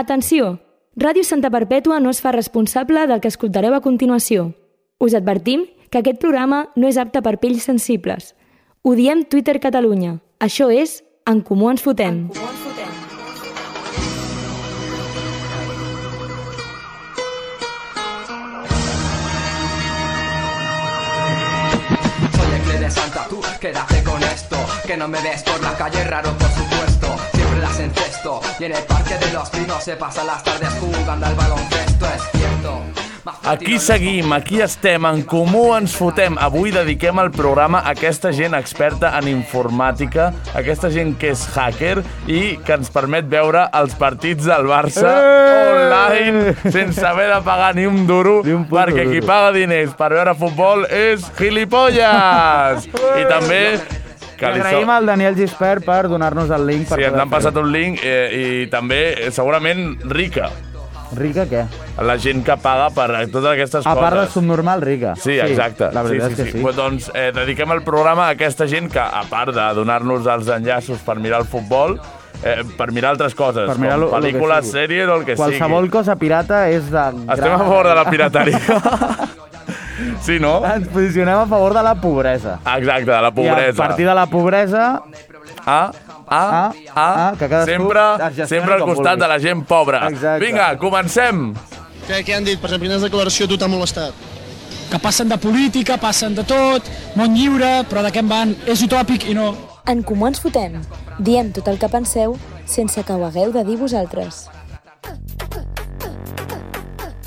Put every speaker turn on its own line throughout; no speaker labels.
Atenció! Ràdio Santa Perpètua no es fa responsable del que escoltareu a continuació. Us advertim que aquest programa no és apte per pells sensibles. Ho diem Twitter Catalunya. Això és En Comú Ens Fotem.
Soy el clé de Santa, tú quédate con esto Que no me ves por la calle, raro por supuesto Siempre las encesto Y en el parque de los pinos se pasan las tardes jugando al baloncesto Es cierto Más
Aquí
platino
seguim, aquí estem, en comú ens fotem. Avui dediquem el programa a aquesta gent experta en informàtica, aquesta gent que és hacker i que ens permet veure els partits del Barça online sense haver de pagar ni un duro,
Eh! Ni un puto
perquè qui
duro.
paga diners per veure futbol és gilipolles! I també... Que li so-
Eh! Agraïm al Daniel Gispert per donar-nos el link. Per
Sí, ens
poder
han passat un link eh, i també, eh, segurament, rica.
fer-ho. Rica què?
La gent que paga per totes aquestes
A
coses.
part de subnormal, rica.
Sí, exacte.
La veritat
sí, sí,
és que sí.
Pues, doncs eh, dediquem el programa a aquesta gent que, a part de donar-nos els enllaços per mirar el futbol, eh, per mirar altres coses,
Per mirar
com
lo- lo que
pel·lícules,
sigui.
sèries o el que
Qualsevol
sigui.
cosa pirata és de...
Estem a favor de la pirateria. sí, no?
Ens posicionem a favor de la pobresa.
Exacte, de
I
la
a
pobresa.
partir de la pobresa...
A, a,
Ah,
a,
ah, que cadascú es
sempre,
gestioni
sempre al
com
costat
vulgui.
de la gent pobra.
Exacte.
Vinga, comencem!
Què, què han dit? Per exemple, quina declaració a tu t'ha molestat?
que passen de política, passen de tot, món lliure, però de què en van? És utòpic i no.
En Comú Ens Fotem. Diem tot el que penseu sense que ho hagueu de dir vosaltres.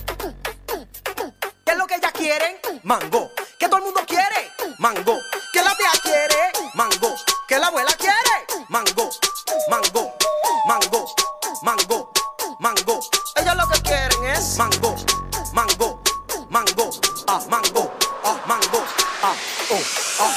¿Qué es lo que ellas quieren? Mango. ¿Qué todo el mundo quiere? Mango. ¿Qué la tía quiere? Mango. ¿Qué la abuela quiere? Mango. Mango. Mango. Mango. Mango. Ellos lo que quieren es mango. Mango. Mango. Ah, mango. Ah, mango. Ah, oh, ah.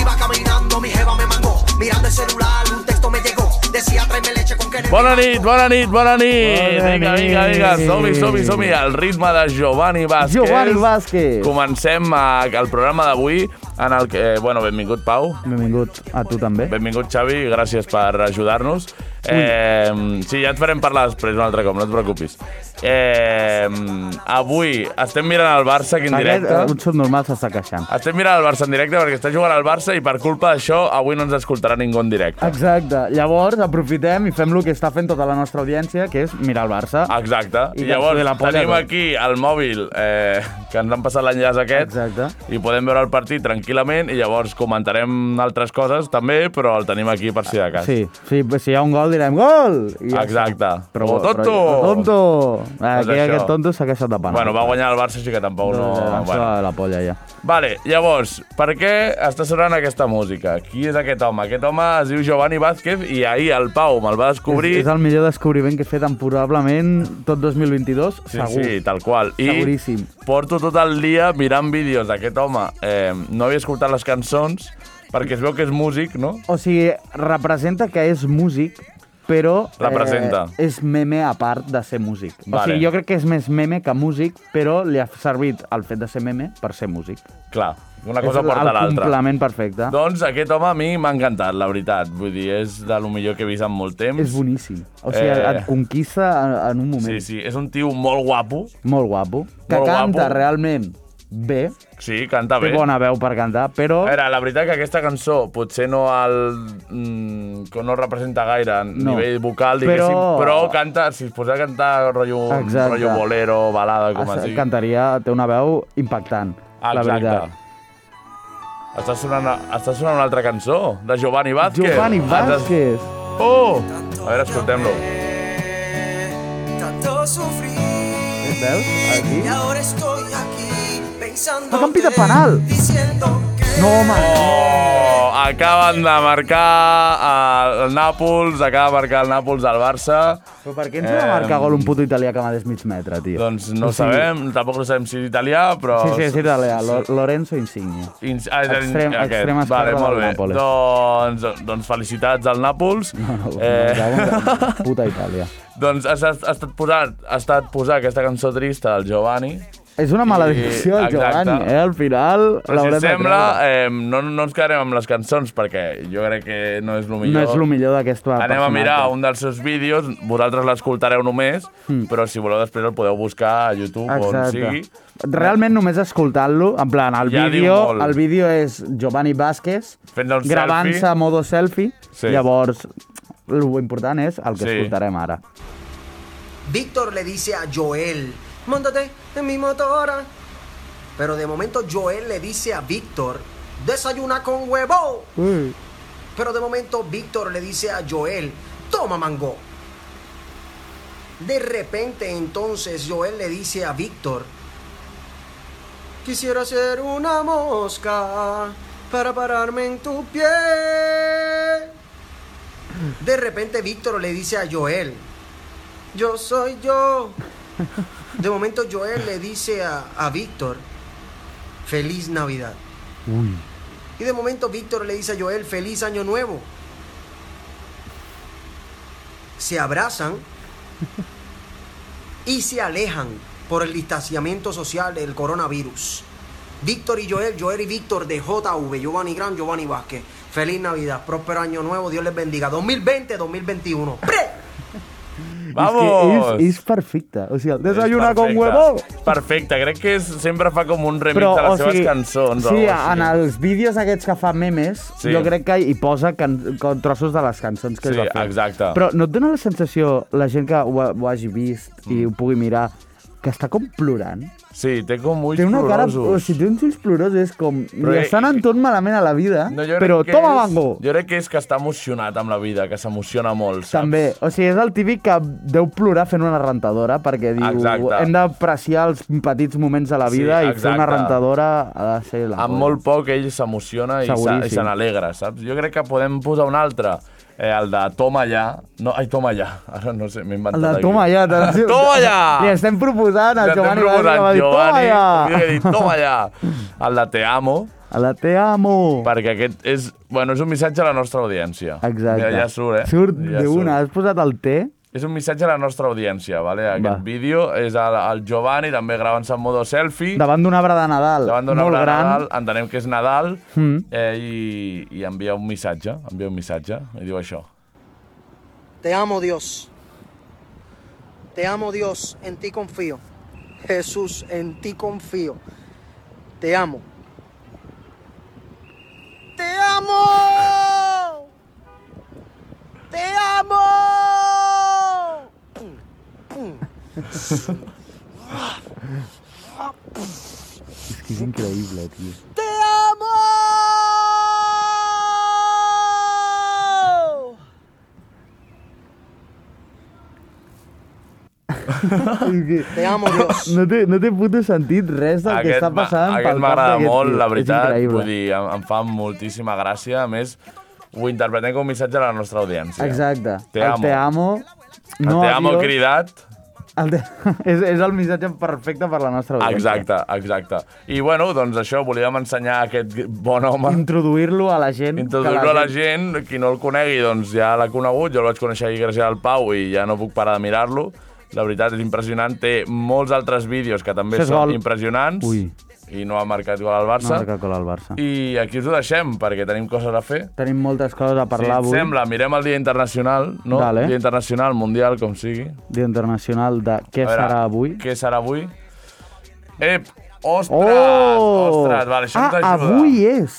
Iba caminando, mi jeva me mangó. Mirando el celular, un texto me llegó. Decía tráeme leche con que
Bona nit, bona nit, bona nit.
Bona
vinga, vinga, vinga,
nit.
som-hi, som-hi, som-hi. Al ritme de Giovanni Vázquez.
Giovanni Vázquez.
Comencem eh, el programa d'avui en el que... eh, Bueno, benvingut, Pau.
Benvingut a tu també.
Benvingut, Xavi. Gràcies per ajudar-nos. Eh, sí, ja et farem parlar després un altre cop, no et preocupis. Eh, avui estem mirant el Barça aquí en
Aquest,
directe.
eh, un subnormal s'està queixant.
Estem mirant el Barça en directe perquè està jugant al Barça i per culpa d'això avui no ens escoltarà ningú en directe.
Exacte. Llavors, aprofitem i fem lo que està fent tota la nostra audiència, que és mirar el Barça.
Ah, Exacte.
I que
I
ens
llavors
ve la polla,
tenim
doncs.
aquí al mòbil eh, que ens han passat l'enllaç aquest
Exacte.
i podem veure el partit tranquil·lament i llavors comentarem altres coses també, però el tenim aquí per si de cas.
Sí, sí, pues, si hi ha un gol direm gol! I ja està.
Exacte.
Però,
O tonto!
Però, o tonto! Aquí
això.
aquest tonto s'ha queixat de pana.
Bueno, va guanyar el Barça, així que tampoc no...
no,
Bueno.
la polla ja.
Vale, llavors, per què està sonant aquesta música? Qui és aquest home? Aquest home es diu Giovanni Vázquez i ahir el Pau me'l va descobrir.
És, és el millor descobriment que he fet en probablement tot 2022,
Sí,
segur.
sí, tal qual. I
Seguríssim.
porto tot el dia mirant vídeos d'aquest home. Eh, no havia escoltat les cançons, perquè es veu que és músic, no?
O sigui, representa que és músic, però
Representa.
Eh, és meme a part de ser músic. O
Vale.
sigui, jo crec que és més meme que músic, però li ha servit el fet de ser meme per ser músic.
Clar, una cosa
és
porta
el
l'altra.
complement perfecte.
Doncs aquest home a mi m'ha encantat, la veritat. Vull dir, és de lo millor que he vist en molt temps.
És boníssim. O sigui,
Eh.
eh... et conquista en, en un moment.
Sí, sí, és un tio molt guapo.
Molt guapo. Que
Molt
canta
guapo.
realment bé.
Sí, canta
Té
bé. Eh,
bona veu per cantar, però...
A veure, la veritat que aquesta cançó potser no el, mm, que no representa gaire a
No.
nivell vocal,
Però-
diguéssim, però... canta, si es posés a cantar rotllo,
Exacte.
rotllo bolero, balada, com
es-
es diu.
Cantaria, Ah, té una veu impactant, la veritat.
Està sonant, està sonant una altra cançó, de Giovanni Vázquez.
Giovanni Vázquez.
Ens- Oh! A veure, escoltem-lo.
Tanto sufrir.
Veus? Aquí.
Y ahora estoy aquí pensando.
Ah, campi de penal.
Diciendo que.
No, home.
Oh! Acaben de marcar eh, el Nàpols, acaba de marcar el Nàpols al Barça.
Però per què ens va
Em,
marcar gol un puto italià que va des mig metre, tio?
Doncs no ho sabem, tampoc no sabem si és italià, però...
Sí, sí, és italià. Lo- Lorenzo Insigne.
Ins- ah, és
Extrem-
aquest.
extrem esquerre
vale,
del
molt bé.
Nàpoles.
Doncs, doncs felicitats al Nàpols.
Eh. Puta Itàlia.
Doncs ha, ha, estat posat, ha estat posar aquesta cançó trista del Giovanni
És una maledicció,
I-
Giovanni,
exacte.
eh? Al final
Però si
l'haurem
us
de
sembla,
treure.
eh, no, no ens quedarem amb les cançons, perquè jo crec que no és el millor.
No és el millor d'aquesta
eh, Anem a
personatge.
mirar un dels seus vídeos, vosaltres l'escoltareu només,
Hmm.
però si voleu després el podeu buscar a YouTube o on sigui.
Realment només escoltant-lo, en plan, el
Ja diu
vídeo,
molt.
el vídeo és Giovanni Vázquez
Fent un
gravant-se
selfie.
a modo selfie,
Sí.
llavors el important és el que
Sí.
escoltarem ara.
Víctor le dice a Joel, móntate en mi motora. Pero de momento Joel le dice a Víctor, desayuna con huevo. Pero de momento Víctor le dice a Joel, toma mango. De repente entonces Joel le dice a Víctor, quisiera ser una mosca para pararme en tu pie. De repente Víctor le dice a Joel, yo soy yo. De momento Joel le dice a, a Víctor, feliz Navidad. Y de momento Víctor le dice a Joel, feliz año nuevo. Se abrazan y se alejan por el distanciamiento social del coronavirus. Víctor y Joel, Joel y Víctor de JV, Giovanni Gran, Giovanni Vázquez. Feliz Navidad, próspero año nuevo, Dios les bendiga. 2020-2021. ¡Pre!
Vamos!
És, que és, és perfecte. O sigui, el desayuna
És
con
perfecte.
huevo...
Perfecte, crec que és, sempre fa com un remix de les seves cançons. o
Sí,
alguna cosa
en
així.
els vídeos aquests que fa memes,
Sí.
sí. jo crec que hi posa can con trossos de les cançons que
Sí,
es va fer.
exacte.
Però no et dona la sensació, la gent que ho, ha- ho hagi vist
Mm.
i ho pugui mirar, que està com plorant?
Sí, té com ulls
Té una cara...
plorosos.
O sigui, té uns ulls plorosos, és com...
Però
Però li
que-
estan anant tot malament a la vida,
No,
no,
jo crec
però
que
toma
és-
mango!
Jo crec que és que està emocionat amb la vida, que s'emociona molt, saps?
També, o sigui, és el típic que deu plorar fent una rentadora, perquè diu,
Exacte.
hem d'apreciar els petits moments de la
Sí,
vida i fer
exacte.
una rentadora ha de ser la
Amb
polla.
molt poc ell s'emociona i se- i
Seguríssim.
se n'alegra, saps? Jo crec que podem posar un altre, eh, el de Toma allà. No, ai, Toma allà. Ara no sé, m'he inventat
El de
aquí.
Toma allà. Te...
Toma allà!
Li estem proposant al
Li estem
Giovanni Vázquez,
proposant,
que va dir, Toma
Giovanni,
allà!
hauria de dir, "Toma allà". El de Te amo,
A la te amo!
perquè aquest és- bueno, és un missatge a la nostra audiència.
Exacte.
Mira, ja surt, eh?
Surt
Ja
d'una.
surt.
Has posat el té?
És un missatge a la nostra audiència, vale? Aquest
Va.
vídeo és el- el Giovanni, també gravant-se en modo selfie.
Davant d'un arbre de Nadal.
Davant d'un
molt
arbre de
gran.
Nadal, entenem que és Nadal,
Mm.
eh, i, i envia un missatge, envia un missatge, i diu això.
Te amo Dios. Te amo Dios, en ti confío. Jesús, en ti confío. Te amo. Te amo. Te amo.
És que és increïble, tio.
Te amo. Te amo Dios.
No té, no té puto sentit res del que està
m'a-
passant
Aquest
pel cap
m'agrada
d'aquest
molt,
tio.
la veritat.
És increïble.
Vull dir, em, em fa moltíssima gràcia. A més, ho interpretem com un missatge a la nostra audiència.
Exacte.
Te
el
amo.
te amo.
El
No
te
a
amo
Dios.
cridat.
El te... és, és el missatge perfecte per la nostra audiència.
Exacte, exacte. I, bueno, doncs això, volíem ensenyar aquest bon home.
Introduir-lo a la gent. que
Introduir-lo a la gent, qui no el conegui, doncs ja l'ha conegut, jo el vaig conèixer ahir gràcies al Pau i ja no puc parar de mirar-lo. La veritat, és impressionant, té molts altres vídeos que també
Això és
són
gol.
impressionants.
Ui.
I no ha marcat gol al
No
Barça.
marca col al Barça.
I aquí us ho deixem, perquè tenim coses a fer.
Tenim moltes coses a
Si
parlar
et
avui.
sembla, mirem el Dia Internacional, no?
Vale.
Dia Internacional, Mundial, com sigui.
Dia internacional de què
A veure,
serà avui.
Què serà avui? Ep! Ostres!
Oh!
Ostres, vale, això
ah,
em t'ajuda.
avui és.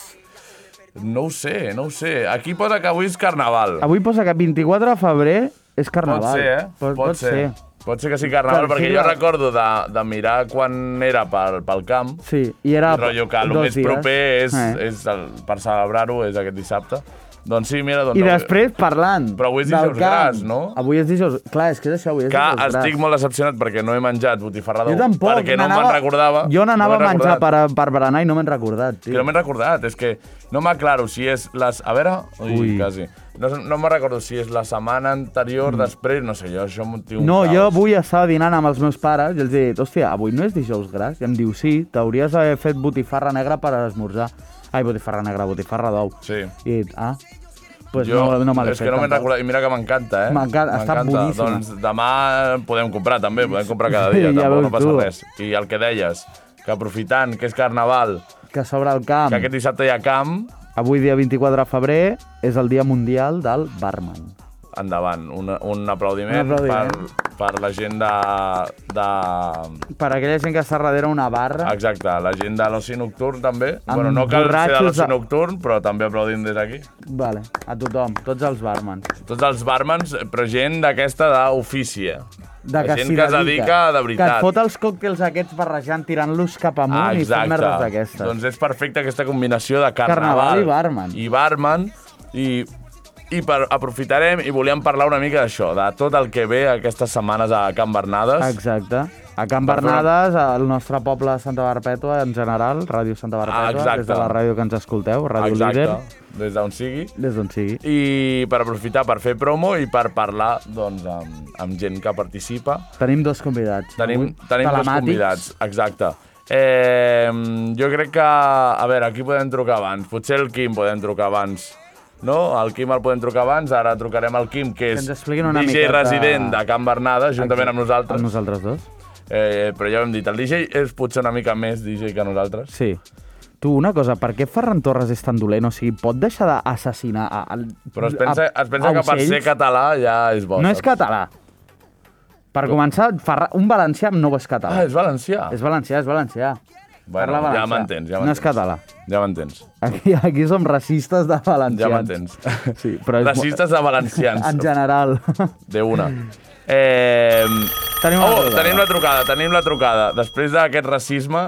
No ho sé, no ho sé. Aquí posa que avui és Carnaval.
Avui posa que 24 de febrer és carnaval.
Pot ser, eh?
Pot, pot, ser.
Pot ser que sí carnaval,
Clar,
perquè
sí,
jo
la-
recordo de, de mirar quan era pel, pel camp,
Sí, i era
el rotllo que el
Ah, dos
més
dies.
proper és,
Eh.
és el, per celebrar-ho és aquest dissabte. Doncs sí, mira, doncs...
I
avui-
després, parlant
Però avui és
del
dijous
camp,
gras, no?
Avui és dijous... Clar, és que és això, avui és
Que
dijous
estic
gras.
molt decepcionat perquè no he menjat botifarrador.
Jo tampoc.
Perquè no me'n
n'anava-
recordava.
Jo n'anava
no
a
me'n
menjar
recordat.
per, per berenar i no me'n recordat,
Que no
tio.
m'he recordat, és que no m'aclaro si és les... A veure... Ui,
Ui. Mm.
quasi. No, no me'n recordo si és la setmana anterior, després, no sé, jo això m'ho tinc un
No,
caos.
jo avui estava dinant amb els meus pares i els he dit, hòstia, avui no és dijous gras? I em diu, sí, t'hauries d'haver fet botifarra negra per esmorzar. Ai, botifarra negra, botifarra d'ou.
Sí.
I he dit, ah, pues no, no me l'he
és que no me'n
tampoc.
recordo, i mira que m'encanta, eh?
M'encanta, està boníssima.
Doncs demà podem comprar també, podem comprar cada dia,
Ja
tampoc
veus
no passa
tu.
res. I el que deies, que aprofitant que és carnaval,
Que s'obre el camp.
que aquest dissabte hi ha camp,
Avui, dia 24 de febrer, és el Dia Mundial del Barman.
endavant. Un, un aplaudiment,
Un aplaudiment.
Per, per la gent de, de...
Per aquella gent que està darrere una barra,
Exacte, la gent de l'oci nocturn també.
Amb
bueno, no cal ser de
borratxos
l'oci
de-
nocturn, però també aplaudim des d'aquí.
vale, a tothom, tots els barmans.
Tots els barmans, però gent d'aquesta d'ofici, eh?
De
La gent que es dedica de veritat.
Que et fot els còctels aquests barrejant, tirant-los cap amunt i fent merdes d'aquestes.
Doncs és perfecta aquesta combinació de carnaval,
Carnaval i barman.
I barman. I, i per, aprofitarem i volíem parlar una mica d'això, de tot el que ve aquestes setmanes a Can Bernades.
Exacte. A Can
Doncs
Bernades, al nostre poble de Santa Barpètua, en general, Ràdio Santa
Ah,
Barpètua,
exacte.
des de la ràdio que ens escolteu, Ràdio
Exacte,
Líder,
des d'on sigui.
des d'on sigui.
I per aprofitar per fer promo i per parlar doncs, amb, amb gent que participa.
Tenim dos convidats.
Tenim,
avui,
tenim dos
telemàtics.
convidats, exacte. Eh, jo crec que... A veure, aquí podem trucar abans. Potser el Quim podem trucar abans. No? El Quim el podem trucar abans, ara trucarem al Quim, que és
ens expliquin una
DJ
miqueta-
resident de Can Bernada, juntament amb nosaltres.
Amb nosaltres dos?
Eh, però ja ho hem dit, el DJ és potser una mica més DJ que nosaltres.
Sí. Tu, una cosa, per què Ferran Torres és tan dolent? O sigui, pot deixar d'assassinar a, a,
Però es pensa,
a-
es pensa
a
que per
ocells?
ser català ja és bo.
No
saps?
és català. Per començar, Ferra... un valencià no és català.
Ah, és valencià.
És valencià, és valencià.
Bueno,
Parla
ja
valencià.
m'entens, ja
No és
m'entens.
català.
Ja m'entens.
Aquí, aquí som racistes de valencians.
Ja m'entens.
Sí, però és... mo-
Racistes de valencians.
En general.
De una. Eh...
Mm. Tenim una
oh,
trucada.
tenim la trucada, tenim la trucada. Després d'aquest racisme,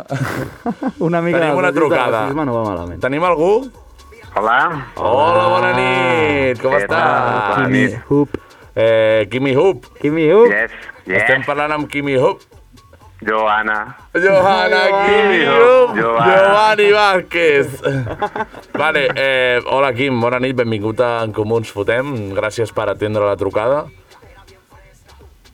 Una mica
tenim
de
una
dosis de
trucada.
racisme no va malament.
Tenim algú? Hola. Hola, bona nit. Com estàs?
Kimi Hoop.
Eh, Kimi Hoop.
Kimi Hoop.
Yes, yes.
Estem parlant amb Kimi Hoop.
Joana.
Johanna Kimi Hoop. Giovanni Vázquez. vale, eh, hola Kim, bona nit, benvingut a En Comú Ens Fotem. Gràcies per atendre la trucada.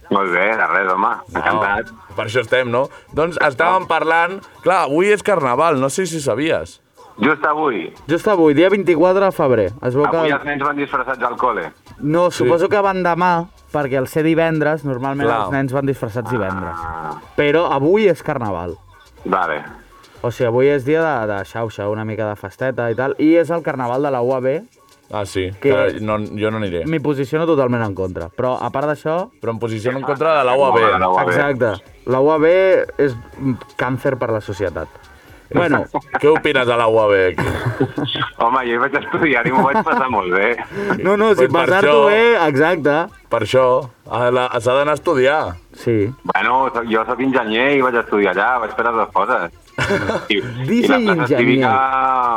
Molt bé, de res, home. Encantat.
Oh, per això estem, no? Doncs estàvem parlant... Clar, avui és carnaval, no sé si sabies.
Just avui.
Just avui, dia 24 de febrer. Es veu
Avui
que...
els nens van disfressats al col·le.
No, suposo que van demà, perquè al ser divendres, normalment
Clar. Ah.
els nens van disfressats divendres. Però avui és carnaval.
Vale.
O sigui, avui és dia de, de xauxa, una mica de festeta i tal, i és el carnaval de la UAB.
Ah, sí, que...
Què?
no, jo no aniré.
M'hi posiciono totalment en contra. Però, a part d'això,
Però em posiciono en contra de la UAB.
Home, la UAB.
exacte, la UAB és mm, càncer per la societat. Bueno,
Què opines de la UAB? Kim?
Home, jo hi vaig estudiar i m'ho vaig passar molt bé.
no, no, si
Pues per
passar-t'ho
això-
bé, exacte.
Per això, a la- s'ha d'anar a estudiar.
Sí.
Bueno, soc- jo sóc enginyer i vaig estudiar allà, vaig fer les dues coses. I, i
Dice
la plaça
enginyer.
cívica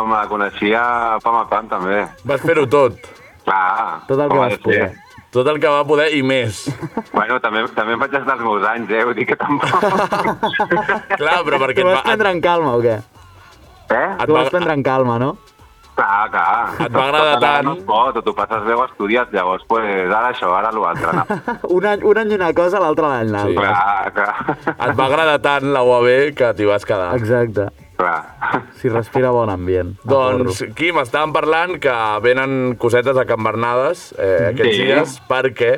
me la coneixia pam a pam, també.
Vas fer-ho tot.
Clar.
Tot el que
com ha de
vas
ser.
poder.
Tot el que va poder i més.
Bueno, també, també em vaig estar els meus anys, eh? Vull dir que tampoc...
Clar, però perquè
T'ho
et
vas
va,
prendre
et,
en calma o què?
eh?
Et
T'ho
va-
vas prendre en calma, no?
Clar, clar.
Et va
Tot tota
agradar
allà
tant.
No es pot, o t'ho passes bé o estudies, llavors, pues, ara això, ara l'altre. No.
Un any, un any una cosa, l'altre l'any l'altra.
clar, clar.
et va agradar tant la UAB que t'hi vas quedar.
Exacte.
clar.
Si respira bon ambient. a
Doncs, Quim, estàvem parlant que venen cosetes a Can Bernades eh, aquests
Sí.
dies perquè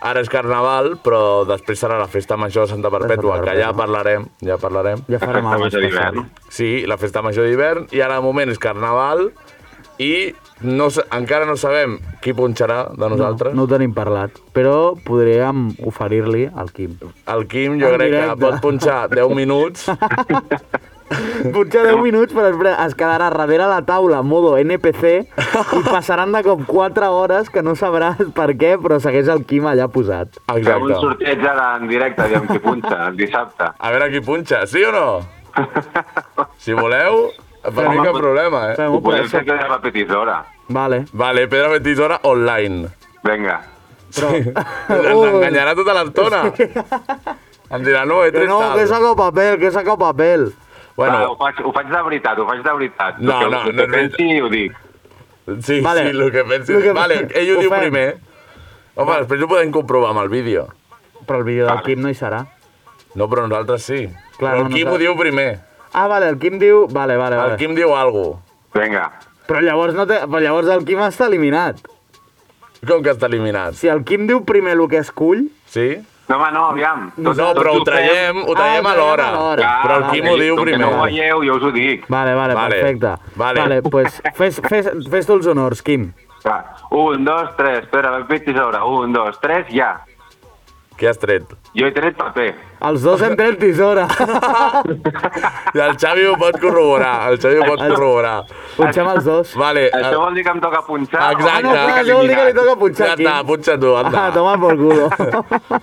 ara és Carnaval, però després serà la Festa Major de Santa Perpètua, que ja
Perpètua.
parlarem, ja parlarem.
Ja
La
farem
festa
alguna
major d'hivern.
Sí, la Festa Major d'hivern, i ara de moment és Carnaval, i no, sa- encara no sabem qui punxarà de nosaltres.
No ho tenim parlat, però podríem oferir-li al Quim.
El Quim jo
En
crec que
Ah, directe.
pot punxar 10 minuts.
Potser 10 minuts, però després es quedarà darrere la taula en modo NPC i passaran de cop 4 hores que no sabràs per què, però segueix el Quim allà posat.
Fem un
Exacte.
sorteig ara en directe, aviam qui punxa, el dissabte.
A veure qui punxa, sí o no? Si voleu, per mi
Home,
cap
pot-
problema, eh?
Fem
Ho
un
podem fer
preset.
que repetidora.
Vale.
Vale, Pedro Betissora online.
Vinga.
Però... Ens enganyarà tota l'estona. Em dirà, no, he
Que
tret
no,
tal.
que saco papel, que saco papel.
Bueno. Va, ho,
Bueno,
faig, ho faig de veritat, ho faig de veritat.
No,
El que,
no,
el
no
que
és veritat.
pensi ho dic.
sí,
Vale.
sí, el que pensi.
Lo que-
Vale, ell ho,
ho
diu
fem.
primer. Home, després ho podem comprovar amb el vídeo.
Però el vídeo del Quim no hi serà.
No, però nosaltres sí.
Clar,
però
no,
el Quim ho
nosaltres-
diu primer.
Ah, vale, el Quim diu... Vale, vale,
El
vale.
Quim diu alguna cosa.
Vinga.
Però llavors, no té... però llavors el Quim està eliminat.
Com que està eliminat?
Si el Quim diu primer el que escull...
Sí?
No, home, no, aviam. Tot,
No,
tot
però ho
fem.
traiem, ho
Ah, ho
traiem
traiem
a l'hora. Ah,
alhora.
Però el
Clar, eh,
Quim ho diu
com que
primer.
no ho veieu, jo us ho dic.
Vale, vale,
Vale.
perfecte.
Vale.
vale pues, fes, fes, fes tu els honors, Quim.
Va, un, dos, tres, espera, repetis ara. Un, dos, tres, ja.
Què has tret?
Jo he tret paper.
Els dos hem tret tisora.
I el Xavi ho pot corroborar, el Xavi ho pot corroborar.
Punxem els dos.
Vale,
Això
el-
vol dir que em toca punxar. o
Eh,
em toca
Exacte. Ah, no, clar,
això vol dir que li
eliminar?
toca punxar
ja
aquí.
està, punxa tu, anda.
Ah, toma por culo.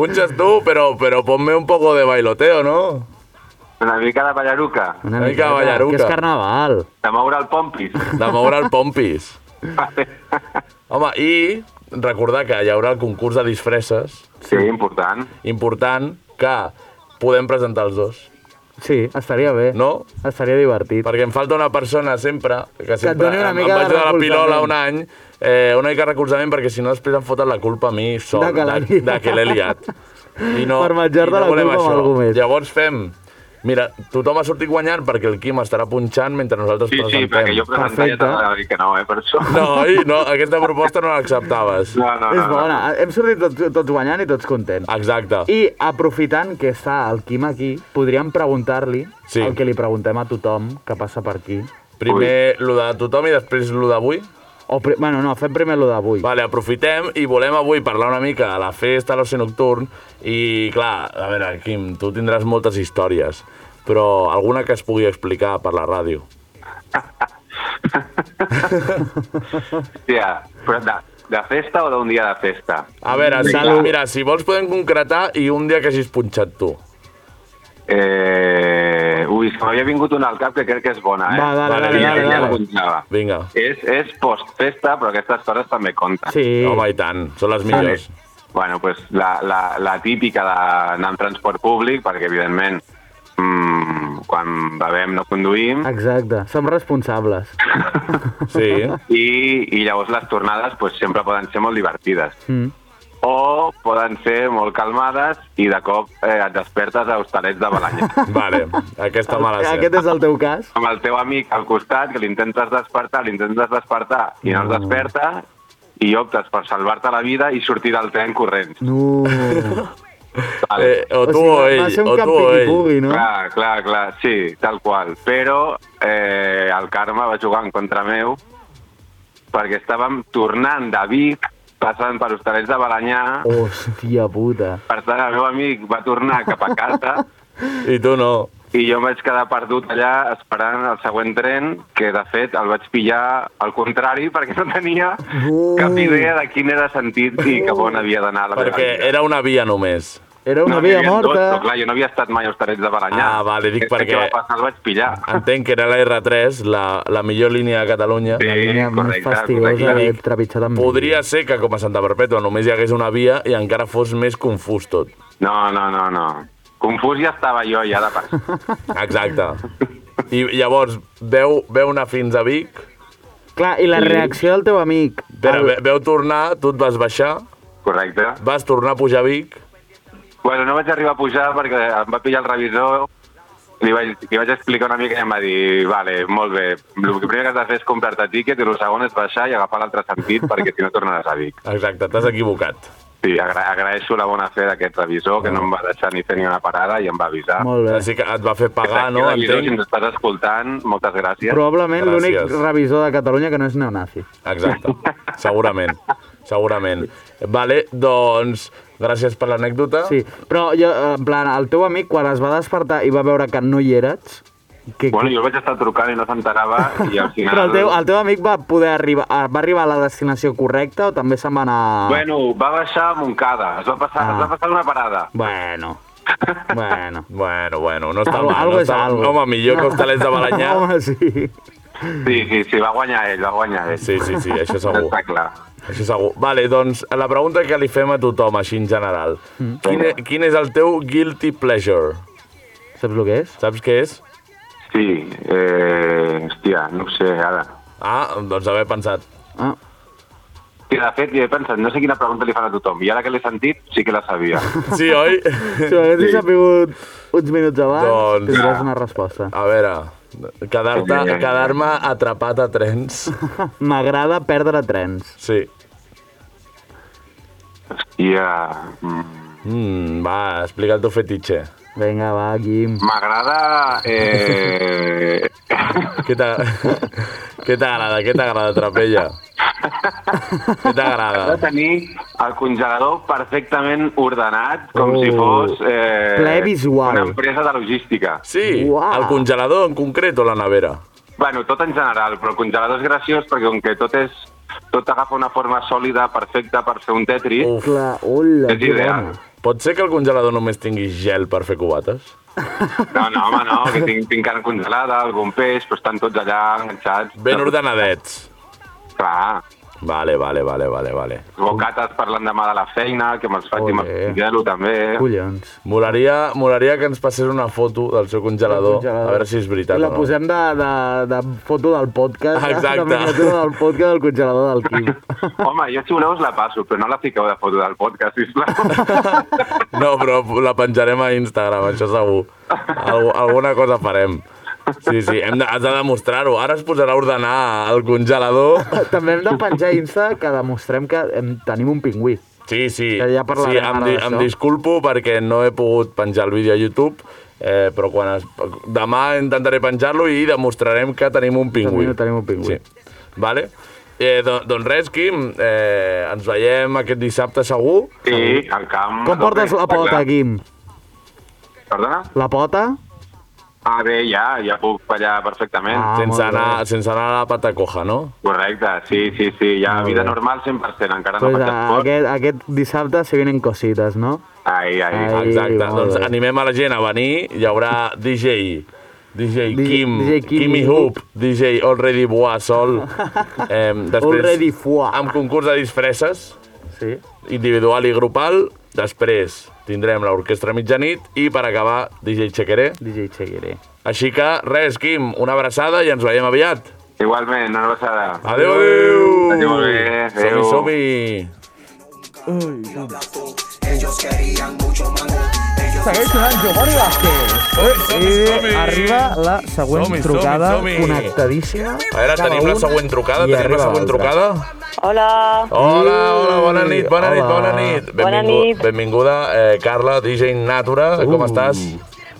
Punxes tu, però, però ponme un poco de bailoteo, no?
Una mica de ballaruca,
Una
Ai,
miqueta,
caballaruca.
Que és carnaval.
de moure el pompis.
De moure el pompis.
Vale.
Home, i recordar que hi haurà el concurs de disfresses,
Sí, important.
important, que podem presentar els dos,
Sí, estaria bé.
no?
Estaria divertit.
Perquè em falta una persona sempre, que sempre
doni una
em, em
mica
vaig
de
donar la pilola
recolzament.
un any, eh, una mica de recolzament, perquè si no després em foten la culpa a mi sol,
De que l'ha
de,
liat.
de que l'he liat. I no,
Per menjar-te
i no
la
volem
culpa amb
això.
algú més.
Llavors fem... Mira, tothom ha sortit guanyant perquè el Quim estarà punxant mentre nosaltres
Sí, sí,
presentem.
perquè jo presentar ja
Perfecte.
t'anava a dir que no, eh, per això.
No, i no, aquesta proposta no l'acceptaves.
no, no, no.
és bona. Hem sortit tots, tots guanyant i tots contents.
Exacte.
I aprofitant que està el Quim aquí, podríem preguntar-li
Sí.
el que li preguntem a tothom que passa per aquí.
Primer lo de tothom i després lo d'avui.
O pri... Bueno, no, fem primer lo d'avui.
Vale, aprofitem i volem avui parlar una mica de la festa, l'oci nocturn i, clar, a veure, Quim, tu tindràs moltes històries, però alguna que es pugui explicar per la ràdio.
Hòstia, però de, de festa o d'un dia de festa?
A veure, si,
Salut.
mira, si vols podem concretar i un dia que hagis punxat tu.
Eh... Ui, és que m'havia vingut una al cap que crec que és bona, eh?
Va, dale,
Vale,
dale,
Ja-
dale,
ja la
dale.
punxava.
Vinga.
És, és postfesta, però aquestes coses també compten.
Sí.
Home, i tant, són les millors.
Bueno, pues la, la, la típica d'anar en transport públic, perquè evidentment mmm, quan bevem no conduïm,
Exacte, som responsables.
Sí.
i, i llavors les tornades pues, sempre poden ser molt divertides.
Mm.
O poden ser molt calmades i de cop eh, et despertes a hostalets de Balanyà.
Vale, aquesta mala
Aquest
set.
és el teu cas?
amb el teu amic al costat, que l'intentes despertar, l'intentes despertar, i no es desperta, i optes per salvar-te la vida i sortir del tren corrents.
No.
Vale.
Eh, o tu
va-
o
va
ell,
ser un
o tu o ell.
campiquipugui, no?
Clar, clar, clar, sí, tal qual. Però eh, el Carme va jugar en contra meu perquè estàvem tornant de Vic, passant per Hostalets de Balanyà,
Hòstia puta.
per tant el meu amic va tornar cap a casa
I tu no.
i jo em vaig quedar perdut allà esperant el següent tren, que de fet el vaig pillar al contrari perquè no tenia cap idea de quin era sentit i cap on havia d'anar la meva
Perquè
vida.
era una via només.
Era una
No,
via
n'hi havia Dos, però
morta.
clar, jo no havia estat mai a Hostalets de Balanyà.
Ah, vale, dic
Aquest que
perquè-
va passar el vaig pillar.
Entenc que era la R3, la, la millor línia de Catalunya.
Sí,
Línia més
correcte, correcte.
fastigosa de trepitjar també.
Podria ser que com a Santa Perpètua només hi hagués una via i encara fos més confús tot.
No, no, no, no. Confús ja estava jo ja de part.
Exacte. I llavors, veu, veu anar fins a Vic,
Clar, i la reacció del teu amic.
però
al-
ve- veu tornar, tu et vas baixar,
Correcte.
vas tornar a pujar a Vic,
Bueno, no vaig arribar a pujar perquè em va pillar el revisor, li vaig, li vaig explicar una mica i em va dir, vale, molt bé, el que primer que has de fer és comprar-te tiquet i el segon és baixar i agafar l'altre sentit perquè si no tornaràs a Vic.
exacte, t'has equivocat.
Sí, agra agraeixo la bona fe d'aquest revisor que no em va deixar ni fer ni una parada i em va avisar.
Molt bé. Ah,
Així que et va fer
Des
pagar,
d'aquí,
no?
Revisor, si
Entenc.
ens estàs escoltant, moltes gràcies.
Probablement l'únic
Gràcies.
revisor de Catalunya que no és neonazi.
Exacte, segurament, segurament. Vale, doncs, gràcies per l'anècdota.
Sí, però jo, eh, en plan, el teu amic, quan es va despertar i va veure que no hi eres... Que,
Bueno, jo el vaig estar trucant i no s'enterava i al final...
Però el teu, el teu amic va poder arribar, ah, va arribar a la destinació correcta o també se'n va anar...
Bueno, va baixar a Montcada, es va passar,
Ah.
es va passar una parada.
Bueno. Bueno.
Bueno, bueno, no està
Algo-
mal.
algo
no
és
està,
algo.
Home, millor que hostalets de Balanyà.
Home, sí.
Sí, sí, sí, va guanyar ell, va guanyar ell.
Sí, sí, sí, això segur.
Està clar.
Això segur. Vale, doncs la pregunta que li fem a tothom, així en general. Quin, e- quin és el teu guilty pleasure?
Saps el que és?
Saps què és?
Sí, eh, hòstia, no ho sé, ara.
Ah, doncs haver pensat.
Ah.
Que de fet, jo he pensat, no sé quina pregunta li fan a tothom, i ara que l'he sentit, sí que la sabia.
Sí, oi?
Si ho haguessis sabut uns minuts abans,
Doncs-
tindràs una resposta.
A veure, quedar-te- quedar-me atrapat a trens.
M'agrada perdre trens.
Sí.
I uh,
Mm, va, explica el teu fetitxe.
Vinga, va, Quim.
m'agrada... Eh...
Què t'ag- què t'agrada? Què t'agrada, Trapella? Què
Va
t'agrada?
tenir el congelador perfectament ordenat, com
Oh.
si fos eh,
Ple visual.
una empresa de logística.
Sí,
Uau.
el congelador en concret o la nevera?
Bueno, tot en general, però el congelador és graciós perquè com que tot és tot agafa una forma sòlida, perfecta per fer un tetris,
Uf.
Clar, hola,
és
que
ideal.
bona.
Pot ser que el congelador només tingui gel per fer cubates?
No, no, home, no, que tinc, tinc carn congelada, algun peix, però estan tots allà enganxats.
Ben ordenadets.
Clar,
Vale, vale, vale, vale, vale.
bocates per l'endemà de la feina, que me'ls faci
Ole.
amb el congelo també.
Collons.
Molaria, molaria que ens passés una foto del seu congelador, a veure si és veritat
La
o no.
posem de, de, de foto del podcast,
Exacte.
de miniatura del podcast del congelador del Quim.
Home, jo si voleu us la passo, però no la fiqueu de foto del podcast, sisplau.
No, però la penjarem a Instagram, això segur. Alg alguna cosa farem. Sí, sí, hem de, has de demostrar-ho. Ara es posarà a ordenar el congelador.
També hem de penjar a Insta que demostrem que hem, tenim un pingüí.
Sí, sí.
Que ja
sí
parlarem
em,
ara
di
d'això.
em disculpo perquè no he pogut penjar el vídeo a YouTube, eh, però quan es, demà intentaré penjar-lo i demostrarem que tenim un pingüí.
Tenim- tenim un pingüí.
Sí. Vale? Eh, doncs, doncs res, Quim, eh, ens veiem aquest dissabte segur.
Sí, al camp.
Com portes la pota, Quim?
Perdona?
La pota?
Ah, bé, ja, ja puc ballar perfectament.
Ah,
sense,
molt bé.
anar, sense anar a la patacoja, no?
Correcte, sí, sí, sí, ja
Mm. Molt
vida
bé.
normal 100%, encara no
Pues,
faig
a,
esport.
Doncs, eh, aquest, aquest dissabte se vienen cositas, no?
Ai, ai,
Ai.
ai.
Exacte,
molt
doncs
bé.
animem a la gent a venir, hi haurà DJ, DJ
Di-
Kim,
DJ
DJ
Kim
Kimi
i
Hoop, DJ Already Boa Sol, eh, després
Already Foie.
amb concurs de disfresses,
Sí.
individual i grupal, després tindrem l'orquestra mitjanit i per acabar DJ Chequeré.
DJ Chegueré.
Així que res, Kim, una abraçada i ens veiem aviat.
Igualment, una abraçada.
Adéu, adéu!
Adéu, molt bé, adéu.
Som-hi, som-hi!
Segueix sonant Giovanni Vázquez.
Som-hi, som-hi!
Arriba la següent
Som-hi, som-hi,
trucada
som-hi.
connectadíssima.
A veure, tenim la següent trucada,
i
tenim
arriba
la següent
l'altra.
trucada. Hola. Hola, hola, bona nit, bona nit,
Hola.
bona nit. Benvingu
nit.
Benvinguda, eh, Carla, DJ Natura, uh. com estàs?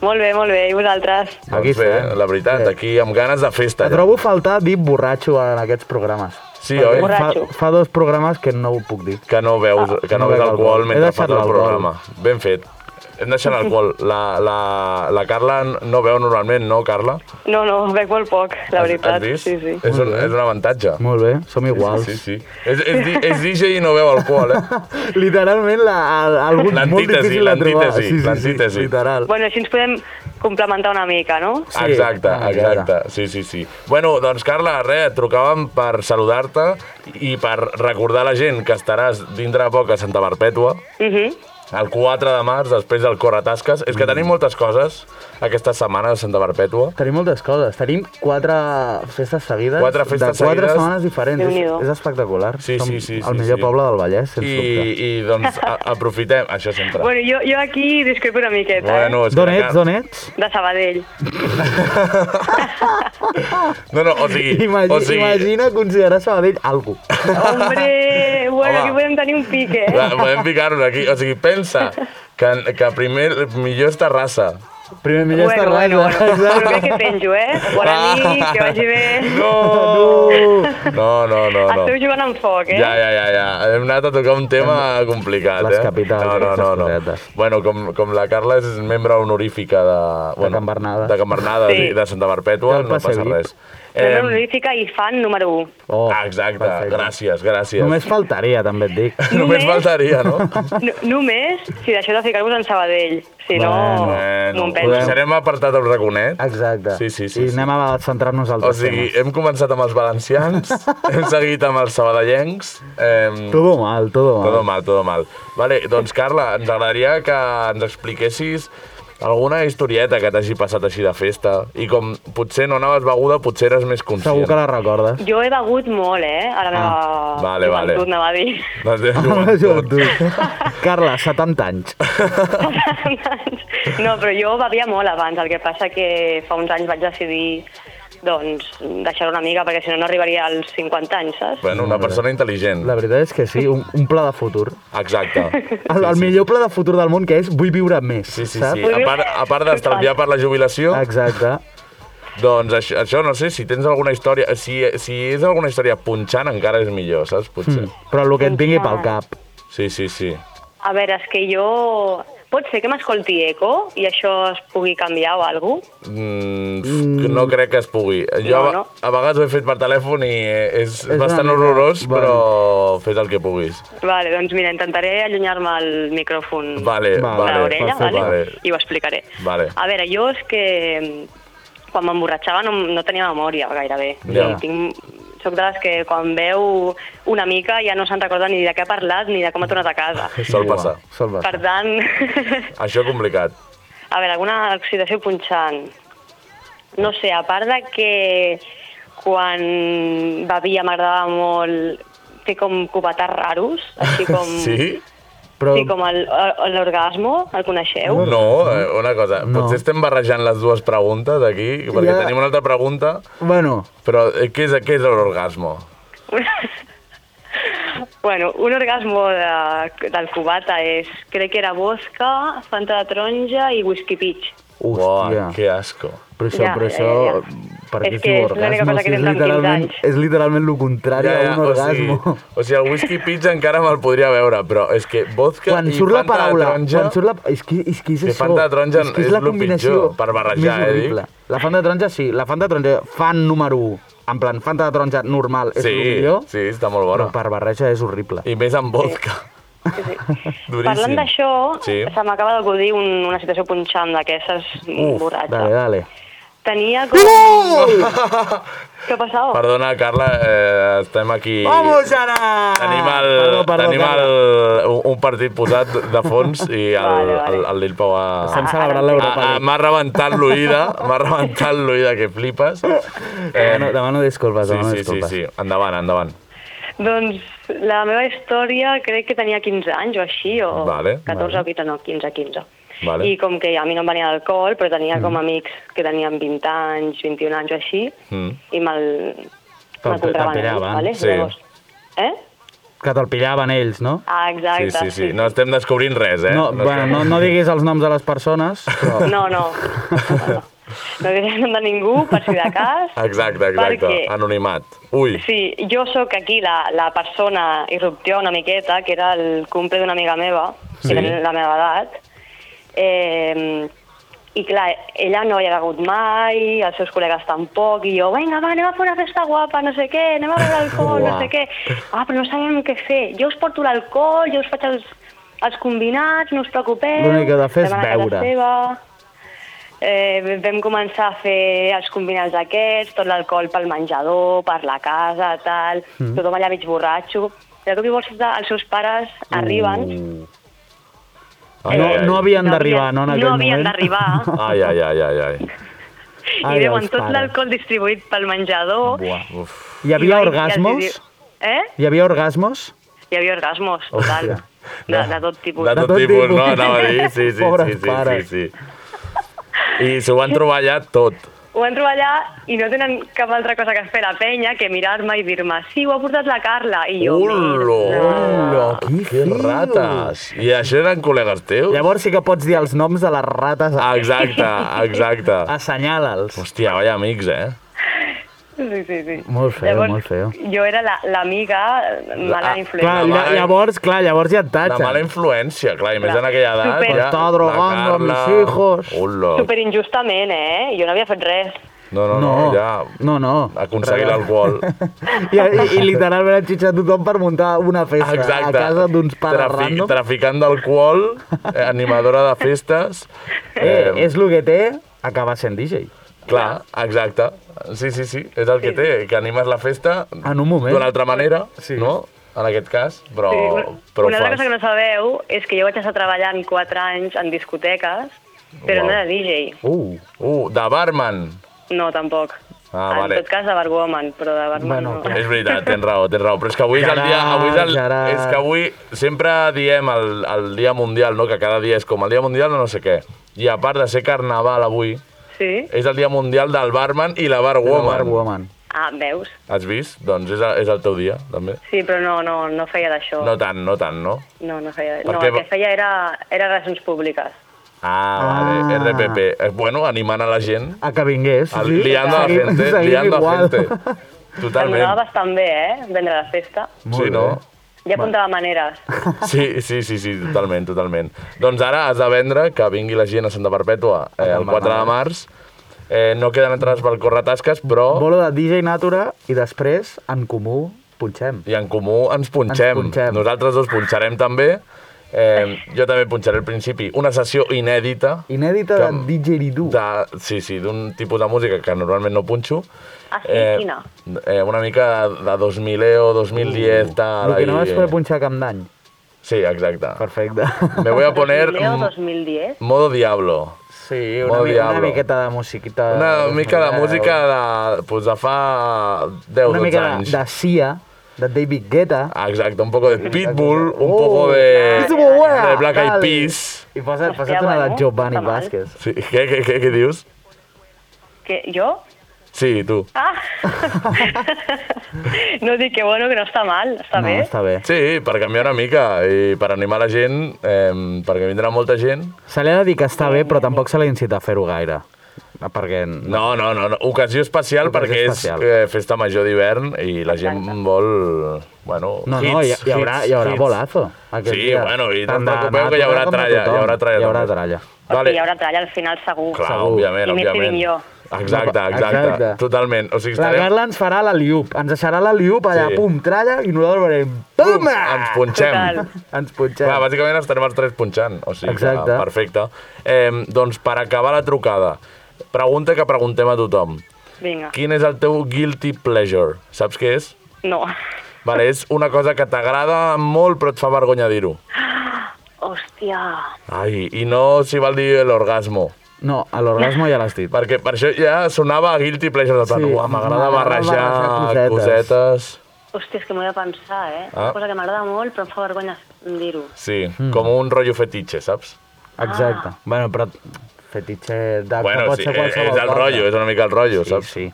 Molt bé, molt bé. I vosaltres?
Aquí
doncs bé,
estem.
la veritat, aquí amb ganes de festa.
Et
ja.
trobo a faltar dir borratxo en aquests programes.
Sí, oi?
Fa,
Borratxo.
fa dos programes que no ho puc dir.
Que no veus, que no
Ah, no
veus
bec alcohol.
alcohol
He
mentre
deixat
fas el
l'alcohol.
programa. Ben fet. Hem deixat l'alcohol. La, la, la Carla no veu normalment, no, Carla?
No, no, bec molt poc, la
Has-
veritat.
Has vist?
Sí, sí.
És un, és un avantatge.
Molt bé, som iguals.
Sí, sí. És, és, di- és DJ i no veu alcohol, eh?
Literalment, la, el, algun molt
L'antítesi,
difícil de trobar.
l'antítesi, l'antítesi.
literal.
Bueno, així ens podem complementar una mica, no?
Sí,
exacte,
ah,
exacte. Sí, sí, sí. Bueno, doncs, Carla, res, et trucàvem per saludar-te i per recordar a la gent que estaràs dintre de poc a Santa Perpètua,
Mhm.
el 4 de març, després del Corretasques. És
Mm.
que tenim moltes coses aquesta setmana a Santa Perpètua.
Tenim moltes coses. Tenim quatre festes seguides.
Quatre festes
de quatre
seguides.
setmanes diferents. És,
Déu-n'hi-do.
és espectacular.
Sí,
Som
sí, sí,
el
sí,
millor
sí.
poble del Vallès, sens
I,
dubte.
I doncs a, aprofitem, això sempre.
Bueno, jo, jo aquí discrepo una miqueta,
Bueno, és que
D'on
la
ets,
Car-
d'on ets?
eh? De Sabadell.
No, no, o sigui...
Imagina,
o sigui
imagina considerar Sabadell algo.
Hombre,
Home.
bueno, aquí podem tenir un pique, eh?
Va, podem ficar-nos aquí. O sigui, pensa que, que primer, millor és Terrassa.
Primer millor estar
bueno, bueno, bueno, però crec
eh? Exacte.
que penjo, eh? Bona nit, que vagi bé.
No! No, no, no, no.
Esteu jugant amb foc, eh?
Ja, ja, ja, ja. Hem anat a tocar un tema complicat,
Les
eh?
capitals,
No, no, no. no.
les
Bueno, com, com la Carla és membre honorífica de... Bueno,
Can Bernades.
De Can Bernades
Sí.
i de Santa Perpètua,
Del
no passa
Passeig.
res.
Membre
Em,
honorífica i fan número 1.
Oh,
ah, exacte,
perfecte.
gràcies, gràcies.
Només faltaria, també et dic.
Només
Només-
faltaria, no?
No, només si deixeu de ficar-vos en Sabadell. Si no, no
Bueno,
em
ho
penjo.
deixarem apartat el raconet.
Exacte.
Sí, sí, sí,
I
sí.
anem a centrar-nos als
O
altres
sigui,
temes.
hem començat amb els valencians, hem seguit amb els sabadellencs, ehm,
Todo mal, todo mal.
Todo mal, todo mal. Vale, doncs Carla, ens agradaria que ens expliquessis alguna historieta que t'hagi passat així de festa i com potser no anaves beguda, potser eres més conscient.
Segur que la recordes.
Jo he begut molt, eh? A la meva
Ah, vale, vale.
joventut, anava a dir.
La teva
Home,
joventut.
joventut. Carla, 70 anys.
no, però jo bevia molt abans, el que passa que fa uns anys vaig decidir doncs deixar-ho una mica, perquè si no no arribaria als 50 anys, saps?
Bueno, una persona intel·ligent.
La veritat és que sí, un, un pla de futur.
Exacte.
El, el millor pla de futur del món que és vull viure més,
Sí, sí,
saps?
sí. A part, a part d'estalviar per la jubilació...
Exacte.
Doncs això, això, no sé, si tens alguna història... Si, si és alguna història punxant, encara és millor, saps? Potser.
Mm. Però el que et vingui pel cap.
Sí, sí, sí.
A veure, és que jo... Pot ser que m'escolti eco i això es pugui canviar o alguna cosa?
Mm, pf, no crec que es pugui. Jo
No,
a-
no.
a vegades ho he fet per telèfon i eh, és,
una
és bastant
mica-
horrorós,
Bueno.
però fes el que puguis.
Vale, doncs mira, intentaré allunyar-me el micròfon
Vale,
de
vale,
l'orella,
perfecte.
vale?
Vale.
i ho explicaré.
Vale.
A veure, jo és que mm, quan m'emborratxava no, no tenia memòria gairebé.
Ja.
I tinc, soc de les que quan veu una mica ja no se'n recorda ni de què ha parlat ni de com ha tornat a casa.
Sol passar.
Sol
Per tant,
Això complicat.
a veure, alguna oxidació punxant. No sé, a part de que quan bevia m'agradava molt fer com cubatats raros, així com...
Sí?
Però...
Sí, com el- el- l'orgasmo, el, coneixeu?
No, eh, una cosa. No. Potser estem barrejant les dues preguntes aquí, perquè
Ja.
tenim una altra pregunta,
Bueno,
però eh, què és, què és l'orgasmo?
Bueno, un orgasmo de, del cubata és, crec que era bosca, fanta de taronja i whisky peach.
hòstia.
que asco.
Però això,
Ja,
però
ja,
això...
ja,
Per
És
què es
que
diu
és l'única
orgasme?
cosa que
Si és
tens amb
literalment,
15
és literalment el contrari ja, ja, d'un
o sigui,
orgasmo.
o sigui, el whisky pizza encara me'l podria veure, però és que vodka
quan
i
surt la
Fanta de
paraula,
taronja...
quan surt la... És que, és que és
Que
això.
Fanta de taronja
és, que
és
és la
lo
combinació
pitjor per
més
barrejar, eh,
horrible. La Fanta de taronja, sí. La Fanta de taronja, fan número 1, en plan, Fanta de taronja normal és el
Sí,
millor,
sí, està molt
però
bona.
per barreja és horrible.
I més amb vodka. Duríssim.
Parlant d'això,
Sí.
se m'acaba d'acudir un, una situació punxant d'aquestes borratxes.
dale, dale.
Tenia com... Què ha passat?
Oh. Perdona, Carla, eh, estem aquí...
Vamos ara!
Tenim, el,
Perdó, perdó,
tenim
Carla.
el, un, un partit posat de fons i el, vale, vale. el, el Lil Pau ha...
Estem
Ah,
celebrant l'Europa
ha- ha-
League.
M'ha rebentat l'oïda, m'ha rebentat l'oïda, que flipes.
ah,
Eh,
Demano, demano disculpes,
sí,
demano
sí, sí,
disculpes.
sí, endavant, endavant.
Doncs la meva història crec que tenia 15 anys o així, o
Vale,
14 o 15, no, 15, 15.
Vale.
I com que a mi no em venia l'alcohol, però tenia com amics que tenien 20 anys, 21 anys o així,
Mm.
i me'l
Te'l-
me'l compraven
te'l
ells,
pillaven,
¿vale?
sí.
Llavors, eh?
Que te'l pillaven ells, no?
Ah, exacte.
Sí, sí, sí, no estem descobrint res, eh?
No, bueno, no, no diguis els noms de les persones, però...
No, no. No diré nom de ningú, per si de cas.
Exacte, exacte,
Perquè-
anonimat. Ui,
Sí, jo sóc aquí la, la persona irrupció una miqueta, que era el cumple d'una amiga meva,
Sí.
que era la meva edat. Eh, I clar, ella no hi ha hagut mai, els seus col·legues tampoc, i jo, vinga, va, anem a fer una festa guapa, no sé què, anem a beure alcohol, no
Uah.
sé què. Ah, però no sabem què fer. Jo us porto l'alcohol, jo us faig els, els combinats, no us preocupeu.
L'únic que he de fer és
Vam anar a casa
beure.
Seva. Eh, vam començar a fer els combinats aquests, tot l'alcohol pel menjador, per la casa, tal,
Mm.
mm. tothom allà mig borratxo. De cop i volta els seus pares arriben...
Ai,
no,
ai, ai.
no havien Mm. d'arribar, no, en aquell
no havien
moment?
d'arribar.
Ai, ai, ai, ai, ai.
I veuen tot l'alcohol distribuït pel menjador.
Buah, uf.
Hi havia
I els
orgasmos?
diu- Eh?
Hi havia orgasmos?
Hi havia orgasmos, total.
Hòstia.
De, de tot tipus.
De tot, tipus, no? Anava a dir, sí, sí,
Pobres
sí, sí,
pares.
sí, sí. I s'ho van trobar allà tot.
Ho entro allà i no tenen cap altra cosa que fer la penya que mirar-me i dir-me sí, ho ha portat la Carla. I jo,
Ulo, ulo, que rates. I això eren col·legues teus?
Llavors sí que pots dir els noms de les rates.
Exacte, exacte.
Assenyala'ls.
Ah. Hòstia, vaya amics, eh?
Sí, sí, sí.
Molt feo,
Llavors,
molt feo.
Jo era la- l'amiga la, mala
Ah,
influència.
Clar, lla- llavors, clar, llavors ja et
La
tatxen.
mala influència, clar, i més en aquella edat.
Super.
Ja,
Está drogando a mis
hijos. Ulo.
Super injustament, eh? Jo no havia fet res.
No, no, no,
No.
ja.
No, no.
Aconseguir l'alcohol.
I, i, I literalment han xitxat tothom per muntar una festa
Exacte.
a casa d'uns pares random.
Traficant d'alcohol, eh, animadora de festes.
Eh, és el que té acabar sent DJ.
Clar, exacte. Sí, sí, sí, és el que té, que animes la festa
Eh. En un moment.
d'una altra manera, sí. no? En aquest cas, però,
Sí, una-
Oh, però
una
ho fas.
altra cosa que no sabeu és que jo vaig estar treballant 4 anys en discoteques, però
Uau.
no era DJ.
Uh, uh, de barman.
No, tampoc.
Ah,
En
vale.
tot cas, de barwoman, però de barman bueno, no.
És veritat, tens raó, tens raó. Però és que avui és el dia... Avui és, el,
Gerard, Gerard.
és que avui sempre diem el, el dia mundial, no? Que cada dia és com el dia mundial de no sé què. I a part de ser carnaval avui,
Sí?
És el dia mundial del barman i la barwoman. La barwoman.
Ah, veus?
Has vist? Doncs és, és el teu dia, també.
Sí, però no, no, no feia d'això.
No tant, no tant, no?
No, no feia
Per
No,
què
el
va-
que feia era, era relacions públiques.
Ah, vale, RPP. Eh, Bueno, animant a la gent.
A que vingués.
Al-
sí.
Liando a la
Seguim-
gente,
seguim
liando a
igual.
gente.
Anava
Totalment.
bastant bé, eh? Vendre la festa.
Sí, no?
Ja apuntava maneres.
Sí, sí, sí, sí, totalment, totalment. Doncs ara has de vendre que vingui la gent a Santa Perpètua eh, el 4 de març. Eh, no queden entrades pel Corretasques, però...
Bolo de DJ Natura i després, en comú, punxem.
I en comú ens punxem. Ens punxem. Nosaltres dos punxarem també. Eh, jo també punxaré al principi. Una sessió inèdita.
Inèdita de didgeridoo.
De, sí, sí, d'un tipus de música que normalment no punxo.
Ah, sí? Quina?
Eh, una mica de 2000 o 2010 uh, tal.
El que no
ahí,
vas
eh.
poder punxar cap d'any.
Sí, exacte.
Perfecte.
Me voy a poner
2010,
mm,
2010.
modo diablo.
Sí, una, mi, una miqueta de musiquita...
Una mica de
Mira,
música de, pues, de fa 10
e Una
12
mica de,
anys.
de Sia, de David Guetta.
Exacto, un poco de Pitbull, un
Oh,
poco de,
Pitbull, buena,
de Black Eyed
dale.
Peas.
I posa, posa't una de
bueno,
Giovanni
eh? està mal.
Vázquez.
Sí, ¿qué, qué, qué, qué dius?
Que jo?
Sí, tú.
Ah! no dic que bueno, que no està mal, està bé.
bé.
Sí, per canviar una mica i per animar la gent, eh, perquè vindrà molta gent.
Se li ha de dir que està bé, però tampoc se l'ha incitat a fer-ho gaire. Perquè...
No, no, no, no. ocasió especial
Ocasió
perquè
especial.
és eh, festa major d'hivern i la gent vol, bueno,
No,
hits,
no, hi, hi haurà,
hits,
hi haurà
hits.
bolazo.
Sí,
aquell dia.
bueno, i no
Tant
us
de
preocupeu que hi
Natura
haurà
com de
tralla, hi
tothom.
haurà tralla.
Hi haurà
també.
tralla.
Vale.
Vale,
Hi haurà trall al final, segur.
clar,
segur.
òbviament,
I més
òbviament.
Sevilló.
Exacte, exacte, exacte,
Exacte.
totalment. O sigui,
La
estarem,
Carla ens farà la liup, ens deixarà la liup allà,
Sí.
pum, tralla, i nosaltres veurem, pum,
ens punxem.
Total.
ens punxem.
Clar, bàsicament estarem els tres punxant, o sigui Exacte.
Exacte.
que perfecte. Eh, doncs per acabar la trucada, pregunta que preguntem a tothom.
Vinga.
Quin és el teu guilty pleasure? Saps què és?
No.
Vale, és una cosa que t'agrada molt però et fa vergonya dir-ho.
Hòstia.
Ai, i no s'hi val dir l'orgasmo.
No, a l'orgasmo ja l'has dit.
Perquè per això ja sonava a guilty pleasure de plan,
Sí,
"Uah, m'agrada
m'agrada
barrejar,
barrejar
cosetes.
cosetes."
cosetes.
Hòstia, és que m'ho he de pensar, eh?
Ah.
Ah. Una cosa que m'agrada molt, però em fa vergonya dir-ho.
Sí, mm. com un rotllo fetitxe, saps?
Exacte. Ah. Hmm. Bueno, però fetitxe de que
bueno,
pot
sí, eh,
ser
és,
qualsevol
és el
cosa.
rotllo, és una mica el rotllo,
Sí,
saps?
sí.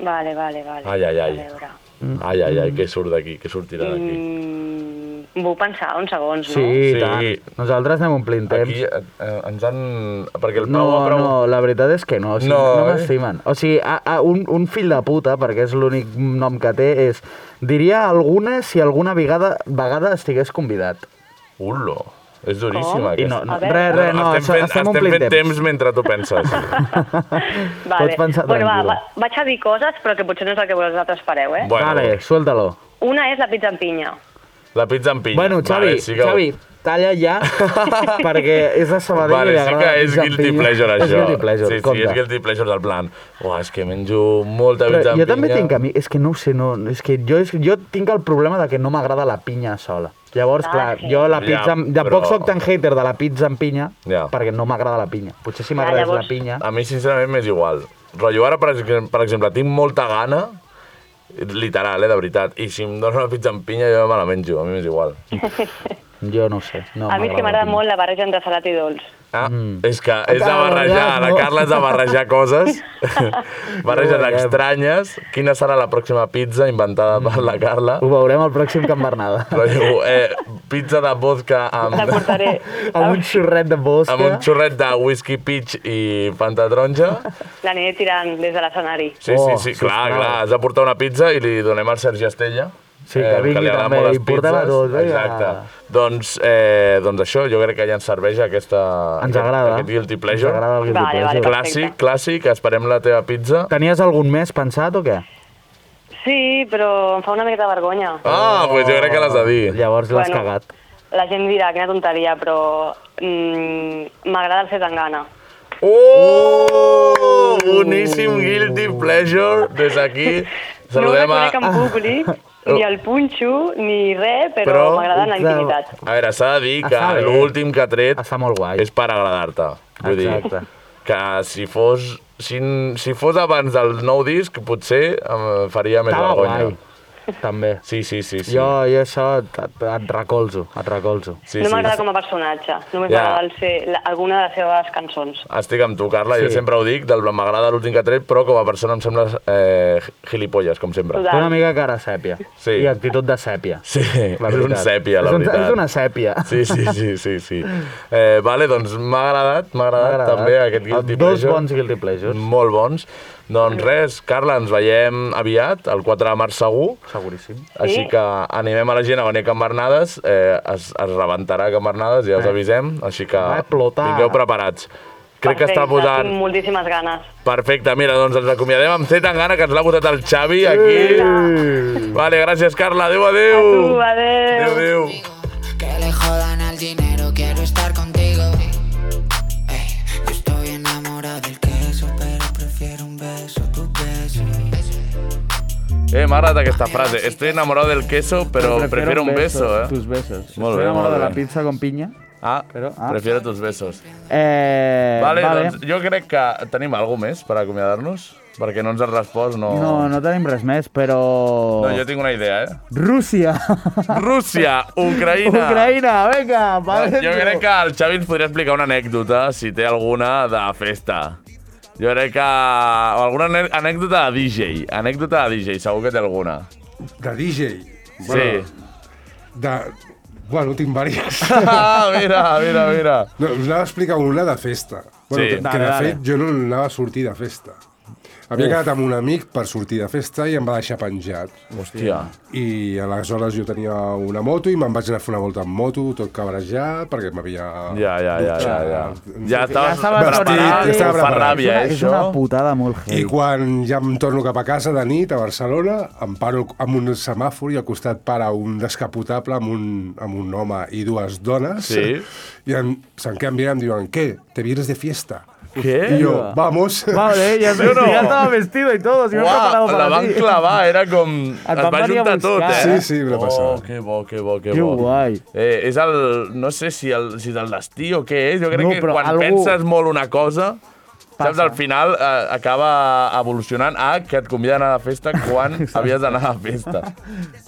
Vale, vale, vale.
Ai, ai, ai.
A veure.
Ai, ai,
Mm.
ai, què surt d'aquí, què sortirà d'aquí?
Mm, m'ho puc pensar uns segons,
Sí,
no?
i
Sí.
tant. Nosaltres anem omplint temps.
Aquí eh, eh, ens han... Perquè el
No,
Pau ha
no,
preguntat...
la veritat és que no. O sigui,
No,
no, no
eh?
m'estimen. O sigui, a, a, un, un fill de puta, perquè és l'únic nom que té, és... Diria alguna si alguna vegada, vegada estigués convidat.
Ulo, és duríssima
I no,
aquesta.
no,
veure.
res, res, no,
estem
això,
fent,
estem
estem
omplint
fent
temps.
temps mentre tu penses.
Vale.
Pots pensar
bueno, va,
tranquil·la.
va, vaig a dir coses, però que potser no és el que vosaltres fareu, eh?
bueno,
Vale, suelta-lo.
Una és la pizza amb pinya.
la pizza amb pinya.
Bueno, Xavi,
vale, sí que...
Xavi, talla ja, perquè és de Sabadell i
Vale,
li
sí
agrada
que
la
és
pizza amb
guilty
pinya.
pleasure,
És
això.
guilty pleasure,
sí, sí,
compte.
és guilty pleasure del plan. Uah, és que menjo molta
Però
pizza amb
jo també
pinya.
tinc a mi, és que no ho sé, no, és que jo, és, jo tinc el problema de que no m'agrada la pinya sola. Llavors,
Ah,
clar,
sí.
jo la
Ja,
pizza... amb- Tampoc
però-
soc tan hater de la pizza amb pinya,
Ja.
perquè no m'agrada la pinya. Potser si
Ja,
m'agradés
Ah, llavors-
la pinya...
A mi, sincerament, m'és igual. Rotllo, ara, per, ex- per exemple, tinc molta gana, literal, eh, de veritat, i si em dono una pizza amb pinya jo me la menjo, a mi m'és igual.
Jo no ho sé. No
a mi és que
Ah, la
m'agrada
pinya.
molt la barreja entre salat i dolç.
Ah, mm. és que és de
Ah,
barrejar,
ja,
la
no.
Carla és de barrejar coses, barreges
Ho veurem.
estranyes. Quina serà la pròxima pizza inventada per la Carla?
Ho veurem al pròxim Can Bernada.
Però diu, eh, pizza de vodka
La
amb,
portaré.
amb un xorret de bosca.
amb un xorret de whisky peach i fanta taronja.
L'aniré tirant des de l'escenari.
Sí,
Oh,
sí, sí,
sí,
clar,
clar.
clar, has de portar una pizza i li donem al Sergi Estella. eh,
Sí, que vingui
li agraden
també,
molt les
i portem-la
pizzas.
tots, vinga.
Exacte. Doncs, eh, doncs això, jo crec que ja ens serveix aquesta,
Ens
aquest-
agrada.
aquest guilty pleasure.
Ens agrada el guilty
Vale, vale,
pleasure.
perfecte.
Clàssic, clàssic, esperem la teva pizza.
Tenies algun més pensat o què?
Sí, però em fa una miqueta de vergonya.
Ah,
Oh.
doncs pues jo crec que l'has de dir.
Llavors l'has cagat.
La gent dirà, quina tonteria, però mm, m'agrada el Setangana.
Oh! Boníssim Guilty Pleasure des d'aquí. Saludem
no
a...
el reconec en públic, ni el punxo, ni res, però,
Però,
m'agrada en la
Oh. clar,
intimitat.
A veure, s'ha de dir que
Ah, Està bé. Ah,
l'últim que ha tret
Està molt guai.
és per agradar-te. Vull dir,
Exacte.
que si fos, si, si fos abans del nou disc, potser em faria més
Estava
vergonya.
guai. També.
Sí, sí, sí. sí.
Jo, jo això et, et, et recolzo, et recolzo.
Sí, no m'agrada com a personatge, només
Ja.
m'agrada el ser- la- alguna de les seves cançons.
Estic amb tu, Carla, sí. jo
Sí.
sempre ho dic, del m'agrada l'últim que ha tret, però com a persona em sembles eh, gilipolles, com sempre.
Té una mica cara sèpia.
Sí.
I actitud de sèpia.
Sí,
La
és un
veritat.
sèpia, la
És un-
veritat.
és una sèpia.
Sí, sí, sí, sí. sí. Eh, vale, doncs m'ha agradat, m'ha agradat,
M'ha agradat.
també aquest Guilty
Dos
Pleasure. Mm.
bons Guilty Pleasures.
Molt bons. Doncs res, Carla, ens veiem aviat, el 4 de març segur.
Seguríssim.
Així que animem a la gent a venir a Can Bernades, eh, es, es rebentarà a Can Bernades, ja us
Eh.
avisem, així que
Va explotar.
vingueu preparats. Crec que està
Perfecte,
posant...
Tinc moltíssimes ganes.
Perfecte, mira, doncs ens acomiadem amb C tan gana que ens l'ha votat el Xavi aquí. Vale, gràcies, Carla. Adéu, adéu.
Tu,
Adéu,
adéu.
adéu.
Que le jodan al dinero, quiero estar contigo. Ey, yo estoy enamorado del queso, pero prefiero un beso, tu beso.
Eh, m'ha agradat aquesta frase. Estoy enamorado del queso, pero prefiero un beso, eh?
Tus besos.
Molt
Estoy
bé,
enamorado
molt
de la
bé.
pizza con piña.
Ah,
Però- ah.
prefiero tus besos.
Eh,
vale, doncs jo crec que tenim alguna més per acomiadar-nos, perquè no ens has respost, no...
No, no tenim res més, però...
No, jo tinc una idea, eh?
Rússia!
Rússia, Ucraïna.
Ucraïna, vinga! Va,
Jo crec que el Xavi ens podria explicar una anècdota, si té alguna, de festa. Jo crec que... O alguna ane- anècdota de DJ. Anècdota de DJ, segur que té alguna.
De DJ.
Sí.
De... Bueno, Ah, tinc diverses.
Ah, mira, mira, mira.
No, us anava a explicar una de festa. Bueno, que,
Sí.
que
Dale,
de
dale.
fet jo no anava a sortir de festa. Havia
Uf.
quedat amb un amic per sortir de festa i em va deixar penjat.
Hòstia.
I aleshores jo tenia una moto i me'n vaig anar a fer una volta amb moto, tot cabrejat, perquè m'havia...
Ja, ja, ja, ja, ja. Ja estaves
preparat,
Sí, estava
fa
preparat.
ràbia, eh, És una- això? és una putada molt
I quan ja em torno cap a casa de nit, a Barcelona, em paro amb un semàfor i al costat para un descapotable amb un, amb un home i dues dones.
Sí.
I em- se'n queden mirant i em diuen, què, te vienes de fiesta?
Què?
I jo, vamos.
Vale, ya,
Sí o no?
ya estaba vestido y todo, si me he preparado
Uah, la
para
van
ti.
clavar, era com...
Et
Et,
van
va
venir a
juntar tot,
buscar,
eh?
eh? Sí, sí,
va
passar. Oh, que bo, que bo, que,
Que
bo.
guai.
Eh, és el... No sé si, el, si és el destí o què és. Jo crec
No,
que
però
quan
algú-
penses molt una cosa... Saps,
Passa.
al final eh, acaba evolucionant a que et conviden a la festa quan havies d'anar a la festa.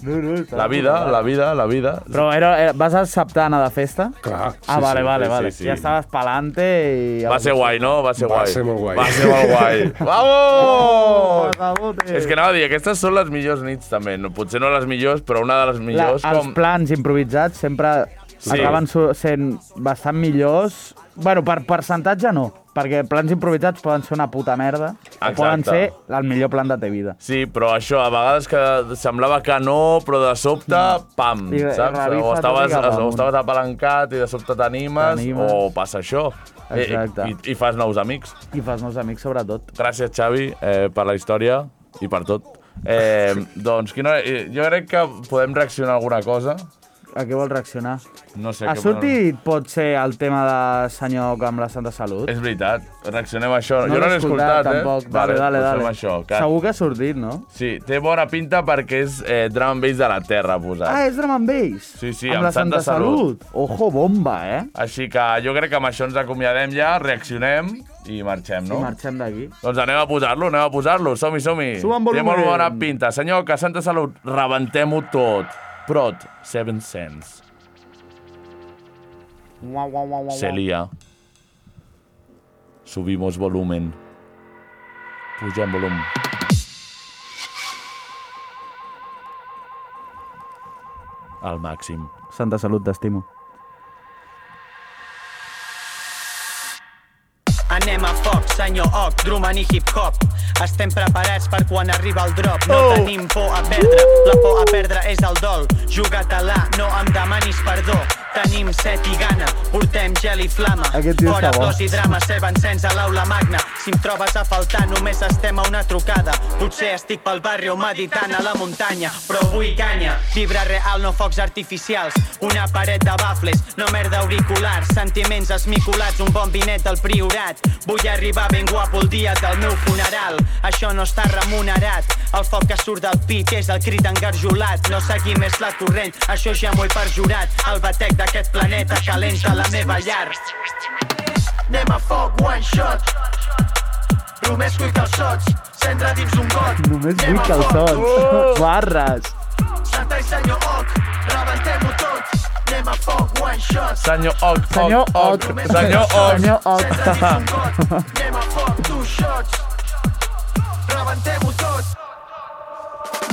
No, no, estava
La vida,
preparat.
la vida, la vida.
Però era, era, vas acceptar anar de festa?
Clar.
Ah,
sí, sí,
vale, vale,
sí,
vale.
sí, sí.
Ja estaves pa'lante i...
Va ser guai, no? Va ser
Va
guai.
ser molt guai.
Va ser molt guai. Vamos! És que
no...
anava a dir, aquestes són les millors nits, també. No, potser no les millors, però una de les
La,
millors
Els
com...
plans improvisats sempre
Sí.
acaben su- sent bastant millors. bueno, per percentatge no, perquè plans improvisats poden ser una puta merda o
Exacte.
poden ser el millor plan de ta vida.
Sí, però això, a vegades que semblava que no, però de sobte, pam,
I re-
saps?
revifa
O estaves,
eh, tot i
o
cap amunt.
estaves apalancat i de sobte t'animes,
T'animes.
o passa això. Eh,
Exacte.
I, i, I fas nous amics.
I fas nous amics, sobretot.
Gràcies, Xavi, eh, per la història i per tot. Eh, doncs, quina, eh, jo crec que podem reaccionar a alguna cosa.
A què vols reaccionar?
No sé
Ha
què
sortit, pot ser, el tema de senyor que amb la Santa Salut?
És veritat, reaccionem a això.
No
jo no
l'he
l'he
escoltat,
escoltat, eh?
tampoc. Dale, dale,
doncs
dale.
fem Això, que...
Segur que ha sortit, no?
Sí, té bona pinta perquè és eh, drum and bass de la terra posat.
Ah, és drum and bass.
Sí, sí,
amb,
amb
la Santa,
Santa Salut.
Salut. Ojo, bomba, eh?
Així que jo crec que amb això ens acomiadem ja, reaccionem i marxem, no?
I marxem d'aquí.
Doncs anem a posar-lo, anem a posar-lo. Som-hi, som-hi.
Suba en
Té
volumen.
molt bona pinta. Senyor, que Santa Salut, rebentem-ho tot. Prot, Seven Cents.
Uau, uau, uau, uau.
Se lía. Subimos volumen. Pujam volum. Al màxim.
Santa Salut, t'estimo.
Anem a foc, senyor Oc, Drummond i hip-hop. Estem preparats per quan arriba el drop. No
Oh.
tenim por a perdre, la por a perdre és el dol. Juga-te-la, no em demanis perdó. Tenim set i gana, portem gel i flama.
Aquest tio
Fora
està bo.
flors i drama, seva encens a l'aula magna. Si em trobes a faltar, només estem a una trucada. Potser estic pel barri o meditant a la muntanya, però vull canya. Vibra real, no focs artificials. Una paret de bafles, no merda auricular. Sentiments esmicolats, un bon vinet del priorat. Vull arribar ben guapo el dia del meu funeral. Això no està remunerat. El foc que surt del pit és el crit engarjolat. No seguir més la torrent, això ja m'ho he perjurat. El batec d'aquest planeta calenta la meva llar. Anem a foc, one shot. Només cull calçots, cendra dins un got.
Només vull
a
calçots.
foc.
Barres. Ai, senyor Oc, rebentem-ho tots. Anem a foc, one shot.
Senyor Oc, Oc,
Senyor Oc.
Oh, Senyor Oc.
Senyor Oc.
Senyor
Anem a foc, two shots. Rebentem-ho tot.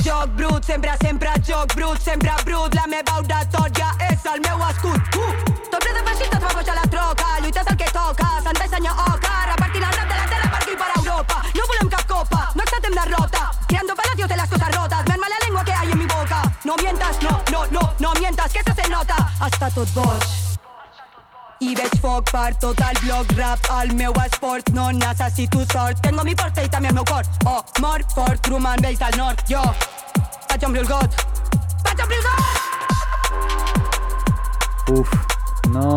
Joc brut, sempre, sempre joc brut, sempre brut. La meva oratòria és el meu escut. Uh! Tot ple de feixistes fa boig a la troca, lluites el que toca, santa i senyor Oca, repartint el rap de la terra per aquí i per Europa. No volem cap copa, no acceptem derrota, creando palacios de las cosas rotas, me arma la lengua que hay en mi boca. No mientas, no, no, no, no mientas, que esto se nota. Està tot boig. I veig foc per tot el bloc rap El meu esport no necessito sort Tengo mi porta i també el meu cor Oh, mort fort, Truman vells del nord Jo vaig omplir el got Vaig omplir el got!
Uf, no...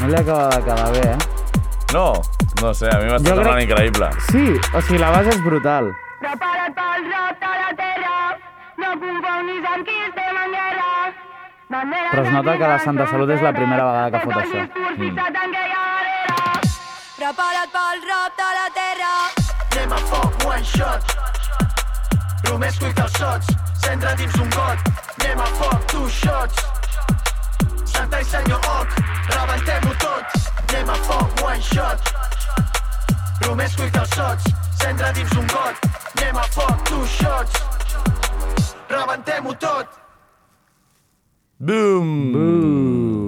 No li acaba de quedar bé, eh?
No, no sé, a mi m'està
Jo crec-
tornant increïble.
Sí, o sigui, la base és brutal.
Prepara't pel rock de la terra No confonguis amb qui estem en guerra Bandera
Però es nota que la Santa Salut és la primera vegada que fot això.
fixat en aquella barrera Prepara't pel rock de la terra
Anem a foc, one shot. Només cull calçots, cendra dins un got. Anem a foc, two shots. Santa i senyor Oc, rebentem-ho tot. Anem a foc, one shot. Només cull calçots, cendra dins un got. Anem a foc, two shots. Rebentem-ho tot.
Boom! Boom!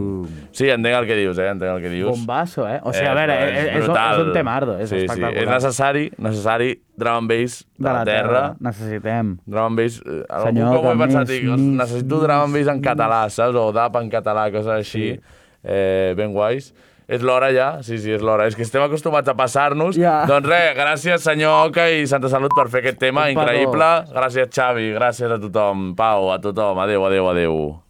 Sí, entenc el que dius, eh? Entenc el que dius.
Bombazo, eh? O sigui, a veure, és- és un-
brutal.
és un temardo, és
sí, sí.
espectacular.
És necessari, necessari drum and bass de, la terra.
Necessitem.
Drum and bass, eh, algun
Senyor,
cop ho he
de
pensat,
més,
dic, "Ostres, necessito drum and bass en català, saps? O dap en català, coses així, eh, ben guais. És l'hora ja, sí, sí, és l'hora. És que estem acostumats a passar-nos.
Ja.
Doncs res, gràcies senyor Oca i Santa Salut per fer aquest tema
Un petó.
increïble. Gràcies Xavi, gràcies a tothom. Pau, a tothom. Adéu, adéu, adéu.